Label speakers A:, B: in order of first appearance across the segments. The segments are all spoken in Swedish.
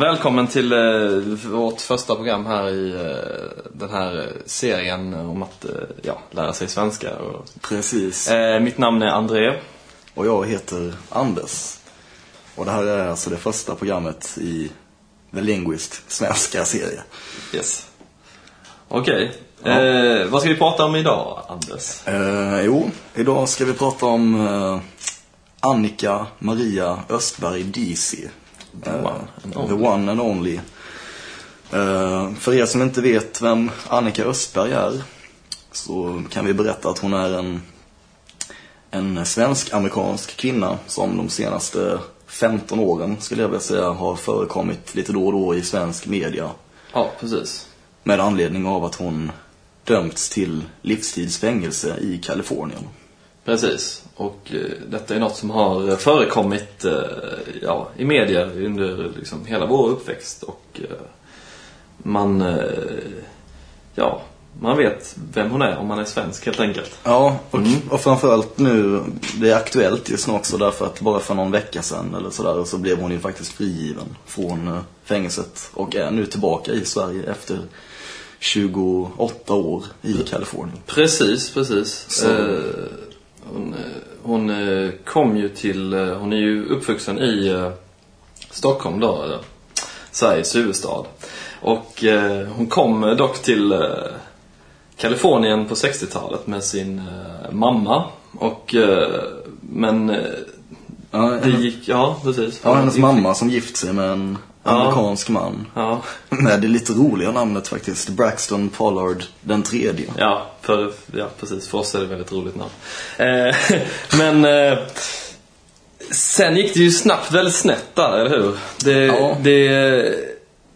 A: Välkommen till eh, vårt första program här i eh, den här serien om att eh, ja, lära sig svenska. Och,
B: Precis.
A: eh, mitt namn är André.
B: Och jag heter Anders. Och det här är alltså det första programmet i The Linguist svenska serie.
A: Yes. Okej. Eh, vad ska vi prata om idag, Anders?
B: Eh, jo, idag ska vi prata om eh, Annika Maria Östberg DC.
A: The one and only.
B: the one and only. Eh, för er som inte vet vem Annika Östberg är så kan vi berätta att hon är en, en svensk-amerikansk kvinna som de senaste 15 åren skulle jag vilja säga har förekommit lite då och då i svensk media.
A: Ja, precis.
B: Med anledning av att hon dömts till livstidsfängelse i Kalifornien.
A: Precis. Och eh, detta är något som har förekommit eh, ja, i media under liksom, hela vår uppväxt. Och eh, man, eh, ja, man vet vem hon är om man är svensk helt enkelt.
B: Ja, och,
A: Mm.
B: och framförallt nu, det är aktuellt just nu också därför att bara för någon vecka sedan eller sådär så blev hon ju faktiskt frigiven från eh, fängelset och är nu tillbaka i Sverige efter 28 år i Kalifornien.
A: Precis, precis.
B: Så-
A: Eh, hon, eh, hon eh, kom ju till, eh, hon är ju uppvuxen i eh, Stockholm då, eh, Sveriges huvudstad. Och eh, hon kom eh, dock till eh, Kalifornien på 60-talet med sin eh, mamma. Och, eh, men eh,
B: Ja,
A: det
B: henne-
A: gick, ja precis.
B: ja, hennes mamma som gift sig med en
A: Ja.
B: amerikansk man.
A: Ja,
B: Med det lite roliga namnet faktiskt, Braxton Pollard den tredje.
A: Ja, för, ja, precis. För oss är det ett väldigt roligt namn. Eh, men eh, sen gick det ju snabbt väldigt snett där, eller hur? Det,
B: Ja.
A: det,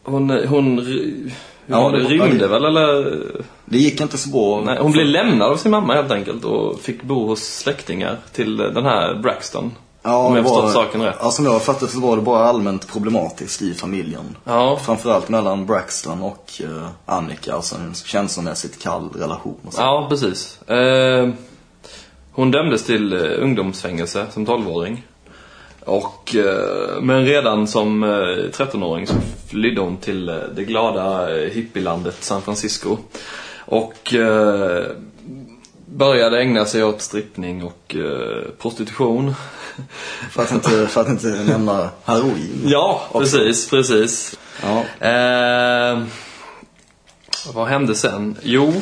A: hon, hon, ry- hur
B: Ja,
A: var det
B: det-
A: rymde väl eller?
B: Det gick inte så bra.
A: Nej, hon blev lämnad av sin mamma helt enkelt och fick bo hos släktingar till den här Braxton. om jag
B: det var-
A: förstått saken rätt.
B: Ja, som jag har fattat så var det bara allmänt problematiskt i familjen.
A: Ja,
B: Framförallt mellan Braxton och eh, Annika, alltså en känslomässigt kall relation och så.
A: ja precis. Eh, hon dömdes till eh, ungdomsfängelse som 12-åring. Och, eh, men redan som eh, 13-åring så flydde hon till eh, det glada eh, hippielandet San Francisco. Och eh, började ägna sig åt strippning och eh, prostitution.
B: För, att inte, för att inte nämna heroin.
A: Ja, precis, precis.
B: Ja.
A: Eh, vad hände sen? Jo,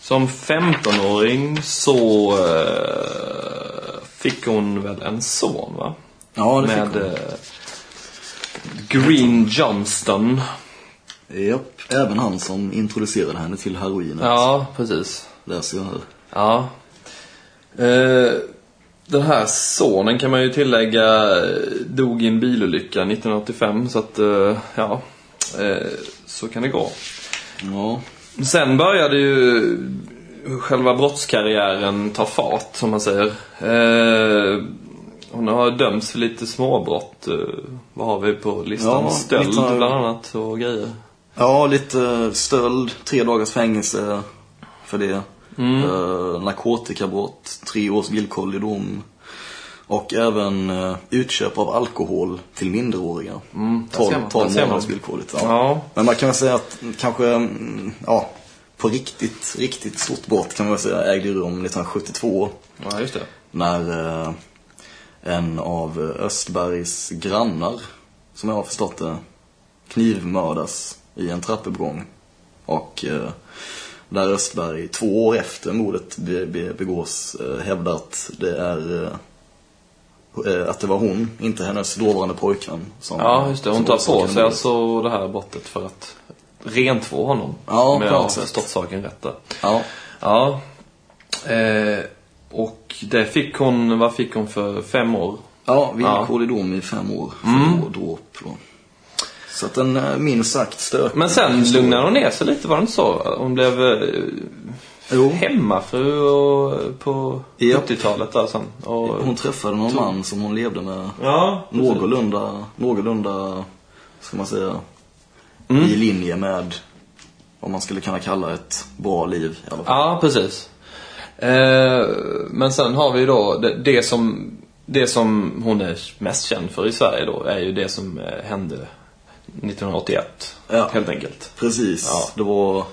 A: som 15-åring så eh, fick hon väl en son va?
B: ja, det
A: Med
B: fick hon.
A: eh, Green Johnston.
B: Japp. Även han som introducerade henne till heroinet,
A: eh, Ja, precis.
B: läser jag här.
A: Ja. Eh, den här sonen kan man ju tillägga eh, dog i en bilolycka 1985 så att, eh, ja. Eh, så kan det gå.
B: Ja,
A: Sen började ju själva brottskarriären ta fart, som man säger. Eh, hon har dömts för lite småbrott. Eh, vad har vi på listan?
B: Ja,
A: Stöld
B: lite av-
A: bland annat och grejer.
B: ja lite stöld, tre dagars fängelse för det.
A: Mm.
B: Eh, narkotikabrott, tre års villkorlig dom. Och även eh, utköp av alkohol till minderåriga. Mm,
A: där ser man, där ser man.
B: månaders villkorligt. Ja.
A: Ja,
B: Men man kan väl säga att kanske, mm, ja, på riktigt, riktigt stort brott kan man väl säga ägde rum 1972
A: ja just det.
B: när eh, en av Östbergs grannar, som jag har förstått det, knivmördas i en trappuppgång. Och eh, där Östberg två år efter mordet be- be- begås eh, hävdar att det är eh, eh, att det var hon, inte hennes dåvarande pojkvän som
A: Ja, just det. Hon
B: som
A: tar på
B: orsakade
A: sig
B: mordet.
A: alltså det här brottet för att rentvå honom.
B: Ja,
A: om
B: på
A: jag har
B: något sätt.
A: förstått saken rätt där.
B: Ja.
A: Ja. Eh, och det fick hon, vad fick hon för fem år?
B: Ja, villkorlig dom i fem år för mm. dråp då. Så att den eh, minst sagt stökig.
A: Men sen lugnade hon ner sig lite, var det inte så? Hon blev eh,
B: Jo.
A: hemmafru och, på
B: Ja.
A: 70-talet där sen. Och,
B: Hon träffade någon man som hon levde med
A: ja, precis.
B: någorlunda, någorlunda, ska man säga,
A: Mm.
B: i linje med vad man skulle kunna kalla ett bra liv i alla fall.
A: Ja, precis. Eh, men sen har vi ju då det, det som det som hon är mest känd för i Sverige då är ju det som eh, hände 1981,
B: Ja.
A: helt enkelt.
B: Precis.
A: Ja.
B: Det var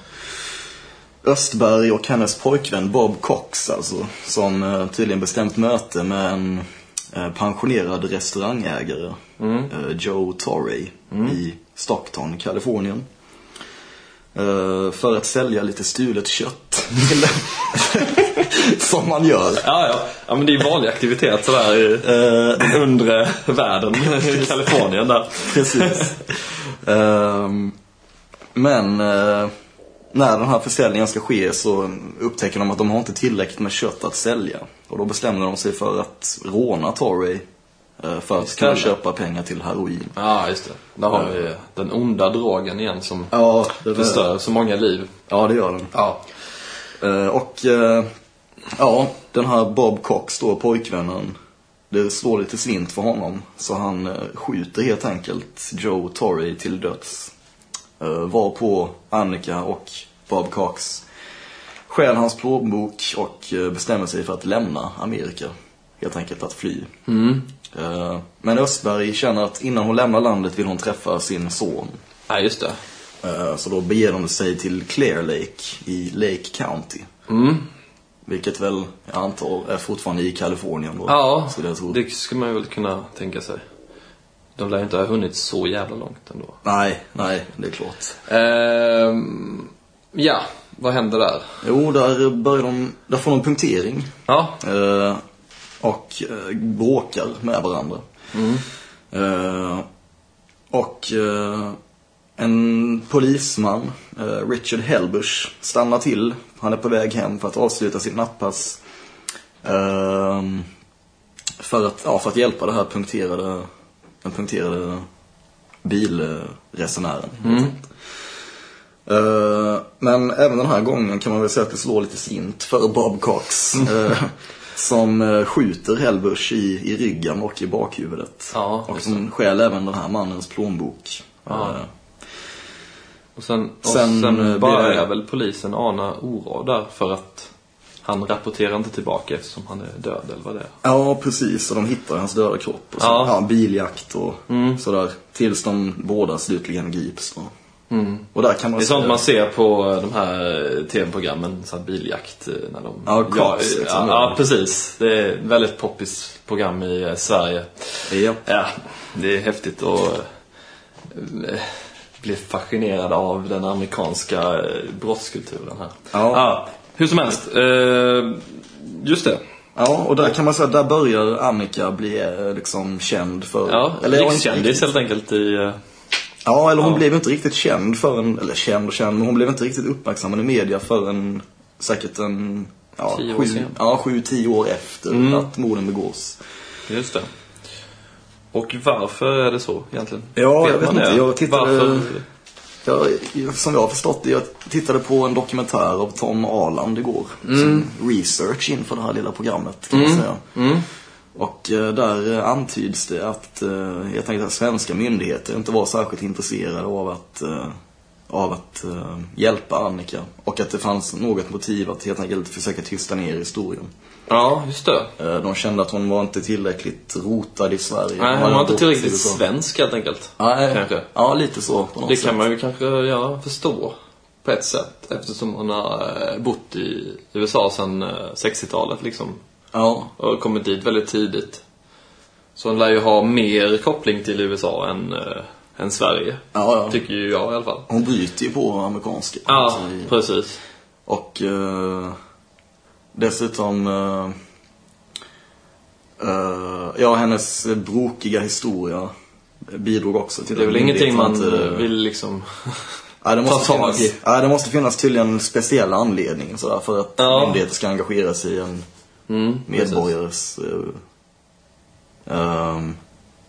B: Östberg och hennes pojkvän Bob Cox alltså, som eh, tydligen bestämt möte med en eh, pensionerad restaurangägare, eh, Joe Torrey, i Stockton, Kalifornien. Eh, För att sälja lite stulet kött. som man gör.
A: Ja, ja. ja men det är ju vanlig aktivitet sådär i eh, den undre världen i Kalifornien där.
B: Precis. Ehm, men eh, när den här försäljningen ska ske så upptäcker de att de har inte tillräckligt med kött att sälja. Och då bestämmer de sig för att råna Torrey eh, för att kunna
A: Istället.
B: köpa pengar till heroin.
A: Ja, just det. Där har vi den onda drogen igen som
B: Ja,
A: förstör så många liv.
B: Ja, det gör den.
A: Ja.
B: Eh, och eh, ja, den här Bob Cox då, pojkvännen. Det slår lite slint för honom. Så han eh, skjuter helt enkelt Joe Torrey till döds. Eh, var på Annika och Bob Cox stjäl hans plånbok och eh, bestämmer sig för att lämna Amerika. Helt enkelt att fly. Eh, men Östberg känner att innan hon lämnar landet vill hon träffa sin son.
A: ja, just det.
B: Eh, Så då beger de sig till Clear Lake i Lake County.
A: Mm.
B: Vilket väl, jag antar, är fortfarande i Kalifornien då.
A: Ja,
B: skulle jag tro.
A: det skulle man väl kunna tänka sig. De lär ju inte ha hunnit så jävla långt ändå.
B: Nej, nej, det är klart.
A: Ehm, ja, vad händer där?
B: Jo, där börjar de, där får de punktering.
A: Ja,
B: Eh, och eh, bråkar med varandra.
A: Mm.
B: Eh, och eh, en polisman, eh, Richard Helbush, stannar till. Han är på väg hem för att avsluta sitt nattpass. Eh, för, att, ja, för att hjälpa det här punkterade, den punkterade bilresenären.
A: Mm.
B: Eh, men även den här gången kan man väl säga att det slår lite sint för Bob Cox.
A: Mm.
B: eh, som eh, skjuter Hellbush i, i ryggen och i bakhuvudet.
A: Ja,
B: och
A: just
B: som stjäl även den här mannens plånbok.
A: Ja.
B: Eh,
A: och sen, och
B: Sen,
A: sen,
B: eh,
A: börjar
B: blir det-
A: väl polisen ana oråd där för att han rapporterar inte tillbaka eftersom han är död eller vad det är.
B: ja, precis. Och de hittar hans döda kropp. Och så, ja.
A: Ja. Mm.
B: biljakt och sådär. Tills de båda slutligen grips. Och, och där kan
A: Mm.
B: man
A: Det är sånt
B: säga-
A: man ser på eh, de här eh, tv-programmen, så här biljakt. eh, När de...
B: Ja, Cops,
A: ja,
B: liksom.
A: ja, ja, precis. Det är ett väldigt poppis program i eh, Sverige.
B: Ja.
A: Ja, det är häftigt att eh, bli fascinerad av den amerikanska eh, brottskulturen här.
B: Ja.
A: hur som helst, eh, just det.
B: Ja, och där kan man säga där börjar Annika bli eh, liksom känd för...
A: Ja,
B: ja, inte
A: rikskändis helt enkelt i... eh,
B: Ja, eller hon
A: Ja.
B: blev inte riktigt känd förrän, eller känd och känd, men hon blev inte riktigt uppmärksammad i media förrän säkert en, ja,
A: Tio år Mm.
B: sju,
A: sen.
B: ja, sju, tio år efter att morden begås.
A: Just det. Och varför är det så egentligen?
B: Ja, jag vet
A: man
B: inte.
A: det?
B: Jag tittade-
A: Varför?
B: Jag, som jag har förstått det, jag tittade på en dokumentär av Tom Arland igår.
A: Mm.
B: Som research inför det här lilla programmet kan man säga.
A: Mm.
B: Och eh, där eh, antyds det att eh, helt enkelt att svenska myndigheter inte var särskilt intresserade av att, eh, av att eh, hjälpa Annika. Och att det fanns något motiv att helt enkelt försöka tysta ner historien.
A: Ja, just det.
B: Eh, de kände att hon var inte tillräckligt rotad i Sverige.
A: Nej, hon var inte
B: bott i
A: tillräckligt
B: USA.
A: svensk helt enkelt.
B: Nej,
A: Kanske.
B: ja lite så på något
A: Det
B: sätt.
A: kan man ju kanske ja, förstå på ett sätt eftersom hon har eh, bott i USA sedan eh, 60-talet liksom.
B: Ja,
A: Och kommit dit väldigt tidigt. Så hon lär ju ha mer koppling till USA än, eh, än Sverige.
B: ja, ja.
A: Tycker ju jag i alla fall.
B: Hon bryter ju på amerikanska.
A: Ja,
B: Alltså, i-
A: precis.
B: Och eh, dessutom... Eh, eh, ja, hennes brokiga historia bidrog också till
A: Det är väl
B: att eh,
A: ingenting man
B: myndigheterna inte-
A: vill liksom...
B: Nej, det måste
A: ta tag
B: finnas,
A: i.
B: Nej, det måste finnas tydligen speciell anledning sådär, för att
A: Ja.
B: myndigheter ska engagera sig i en
A: Mm,
B: medborgares eh, ehm,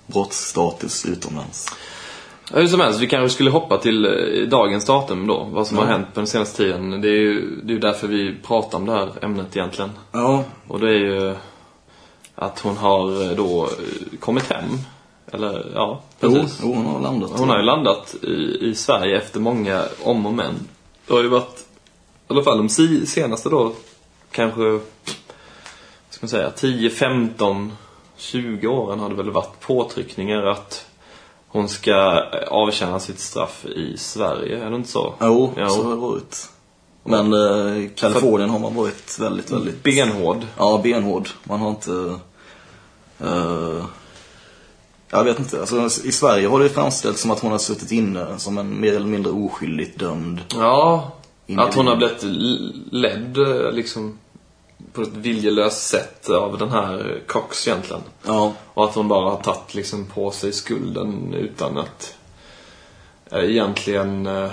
B: brottsstatus utomlands.
A: Ja, Hur som helst, vi kanske skulle hoppa till eh, dagens datum då. Vad som
B: Ja.
A: har hänt på den senaste tiden. Det är ju det är ju därför vi pratar om det här ämnet egentligen.
B: Ja,
A: Och det är ju att hon har eh, då eh, kommit hem. Eller ja,
B: jo,
A: precis.
B: jo, hon har landat.
A: Hon har ju landat i, i Sverige efter många om och men. Det har ju varit, i alla fall de si- senaste då, kanske, vad ska man säga, 10, 15, 20 åren har det väl varit påtryckningar att Hon ska eh, avtjäna sitt straff i Sverige, är det inte så?
B: Jo,
A: Jo.
B: så har det varit. Men eh, Kalifornien har man varit väldigt, väldigt...
A: Benhård.
B: Ja, benhård. Man har inte... eh, jag vet inte. Alltså, I Sverige har det ju framställts som att hon har suttit inne som en mer eller mindre oskyldigt dömd.
A: Ja,
B: Individ.
A: att hon har blivit l- ledd eh, liksom på ett viljelöst sätt av den här Cox egentligen.
B: Ja.
A: Och att hon bara har tagit liksom på sig skulden utan att eh, egentligen eh,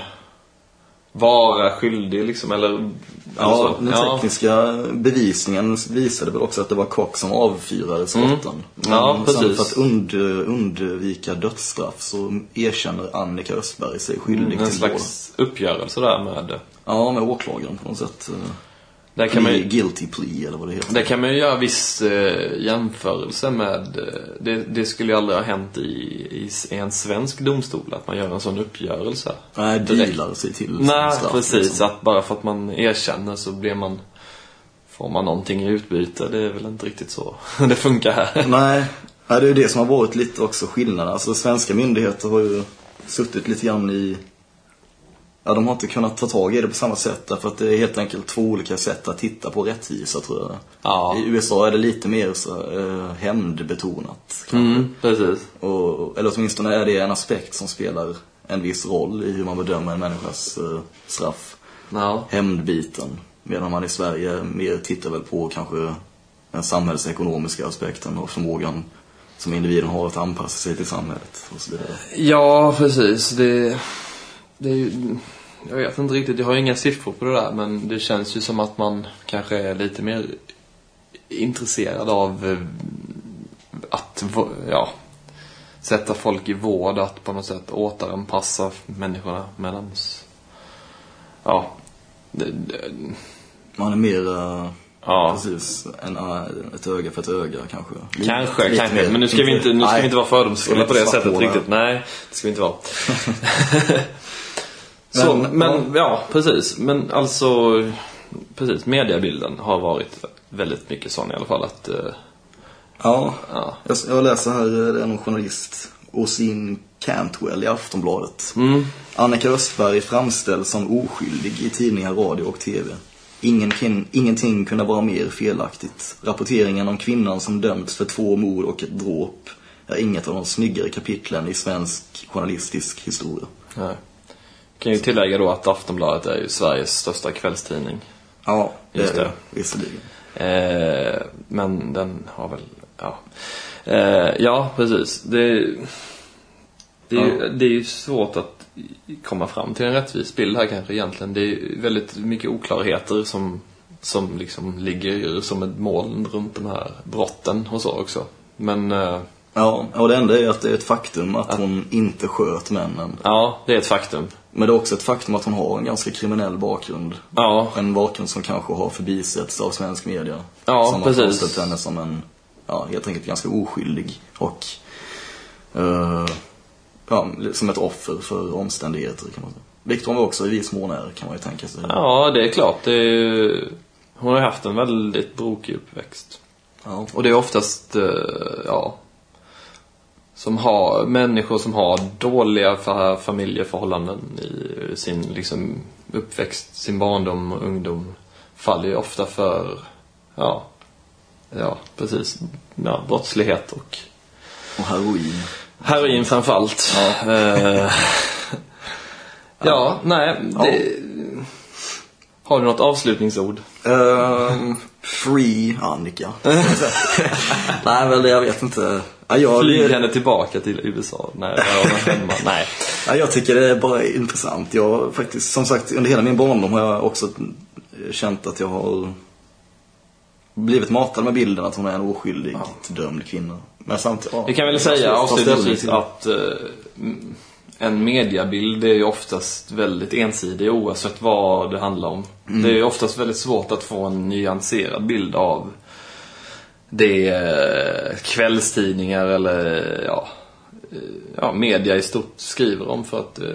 A: vara skyldig liksom, eller, eller
B: Ja,
A: så.
B: den tekniska bevisningen visade väl också att det var Kock som avfyrade skotten. Men
A: Ja,
B: sen
A: precis.
B: för att und, undvika dödsstraff så erkänner Annika Östberg sig skyldig
A: Mm, en
B: till slags...
A: slags uppgörelse där med...
B: Ja, med åklagaren på något sätt. eh,
A: Där kan, man
B: plea-
A: ju,
B: Guilty plea eller vad det heter.
A: där kan man ju göra viss eh, jämförelse med... eh, Det, det skulle ju aldrig ha hänt i, i, s- i en svensk domstol, att man gör en sån uppgörelse.
B: Nej,
A: direkt.
B: dealar sig till
A: Nej,
B: straff,
A: precis.
B: liksom.
A: Att bara för att man erkänner så blir man... Får man någonting i utbyte? Det är väl inte riktigt så det funkar här.
B: Nej, ja, det är ju det som har varit lite också skillnaden. Alltså svenska myndigheter har ju suttit lite grann i... Ja, de har inte kunnat ta tag i det på samma sätt därför att det är helt enkelt två olika sätt att titta på rättvisa tror jag.
A: Ja.
B: I USA är det lite mer så, eh, hämndbetonat. kanske.
A: Mm, precis.
B: Och, eller åtminstone är det en aspekt som spelar en viss roll i hur man bedömer en människas eh, straff.
A: Ja.
B: Hämndbiten. Medan man i Sverige mer tittar väl på kanske den samhällsekonomiska aspekten och förmågan som individen har att anpassa sig till samhället och så vidare.
A: Ja, precis. Det, det är ju, jag vet inte riktigt, jag har ju inga siffror på det där men det känns ju som att man kanske är lite mer intresserad av eh, att vå- ja, sätta folk i vård, att på något sätt återanpassa människorna medans... Ja. Det, det,
B: Man är mer, eh,
A: ja.
B: precis, en, eh, ett öga för ett öga kanske. Lite-
A: Kanske,
B: lite
A: kanske.
B: mer-
A: Men nu ska vi inte, nu ska
B: Nej.
A: vi inte vara fördomsfulla
B: Jag
A: på
B: vill
A: det
B: inte
A: sättet
B: svartmåla.
A: riktigt. Nej, det ska vi inte vara. Så,
B: Men-
A: men, ja, precis. Men alltså, precis. Mediebilden har varit väldigt mycket sån i alla fall att, eh,
B: Ja,
A: ja.
B: jag, jag läser här, eh, det är någon journalist, Osin Cantwell i Aftonbladet. Annika Östberg framställs som oskyldig i tidningar, radio och TV. Ingen, kin- ingenting kunde vara mer felaktigt. Rapporteringen om kvinnan som dömts för två mord och ett dråp är inget av de snyggare kapitlen i svensk journalistisk historia.
A: Nej. Kan ju tillägga då att Aftonbladet är ju Sveriges största kvällstidning.
B: Ja,
A: Just
B: är
A: det.
B: Visserligen.
A: Eh, men den har väl, ja. Eh, ja, precis. Det, det, är ju, det är ju svårt att komma fram till en rättvis bild här kanske egentligen. Det är ju väldigt mycket oklarheter som, som liksom ligger ju som ett moln runt de här brotten och så också. Men eh,
B: Ja, och det enda är att det är ett faktum att hon inte sköt männen.
A: ja, det är ett faktum.
B: Men det är också ett faktum att hon har en ganska kriminell bakgrund.
A: Ja,
B: En bakgrund som kanske har förbisetts av svensk media.
A: Ja,
B: som
A: precis.
B: har framställt henne som en, ja, helt enkelt ganska oskyldig och eh, ja, som ett offer för omständigheter kan man säga. Vilket hon också i viss mån är, kan man ju tänka sig.
A: ja det är klart. Det är ju, hon har ju haft en väldigt brokig uppväxt.
B: Ja.
A: Och det är oftast, eh, ja, som har, människor som har dåliga fa- familjeförhållanden i sin liksom, uppväxt, sin barndom och ungdom faller ju ofta för, ja, ja precis, ja, brottslighet och
B: Och heroin.
A: heroin framförallt. Ja. Eh, ja, nej, det, har du något avslutningsord?
B: Ehm, free Annika. Nej, väl jag vet inte. Ja, jag,
A: Flyg henne tillbaka till USA? Nej, jag var hemma. Nej.
B: Ja, jag tycker det är bara intressant. Jag har faktiskt, som sagt, under hela min barndom har jag också känt att jag har blivit matad med bilden att hon är en oskyldig dömd kvinna. Men samtidigt, ja,
A: Vi kan väl
B: jag
A: säga
B: måste ta ställning
A: avslutningsvis
B: till-
A: att eh, mm, en mediabild är ju oftast väldigt ensidig oavsett vad det handlar om.
B: Mm.
A: Det är ju oftast väldigt svårt att få en nyanserad bild av det eh, kvällstidningar eller ja, eh, ja, media i stort skriver om för att eh,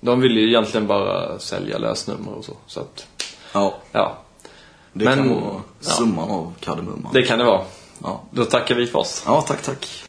A: de vill ju egentligen bara sälja lösnummer och så. så att,
B: Ja,
A: ja,
B: det
A: Men-
B: kan vara
A: ja.
B: summan av kardemumman.
A: det kan det vara.
B: Ja.
A: Då tackar vi för oss.
B: ja, tack, tack.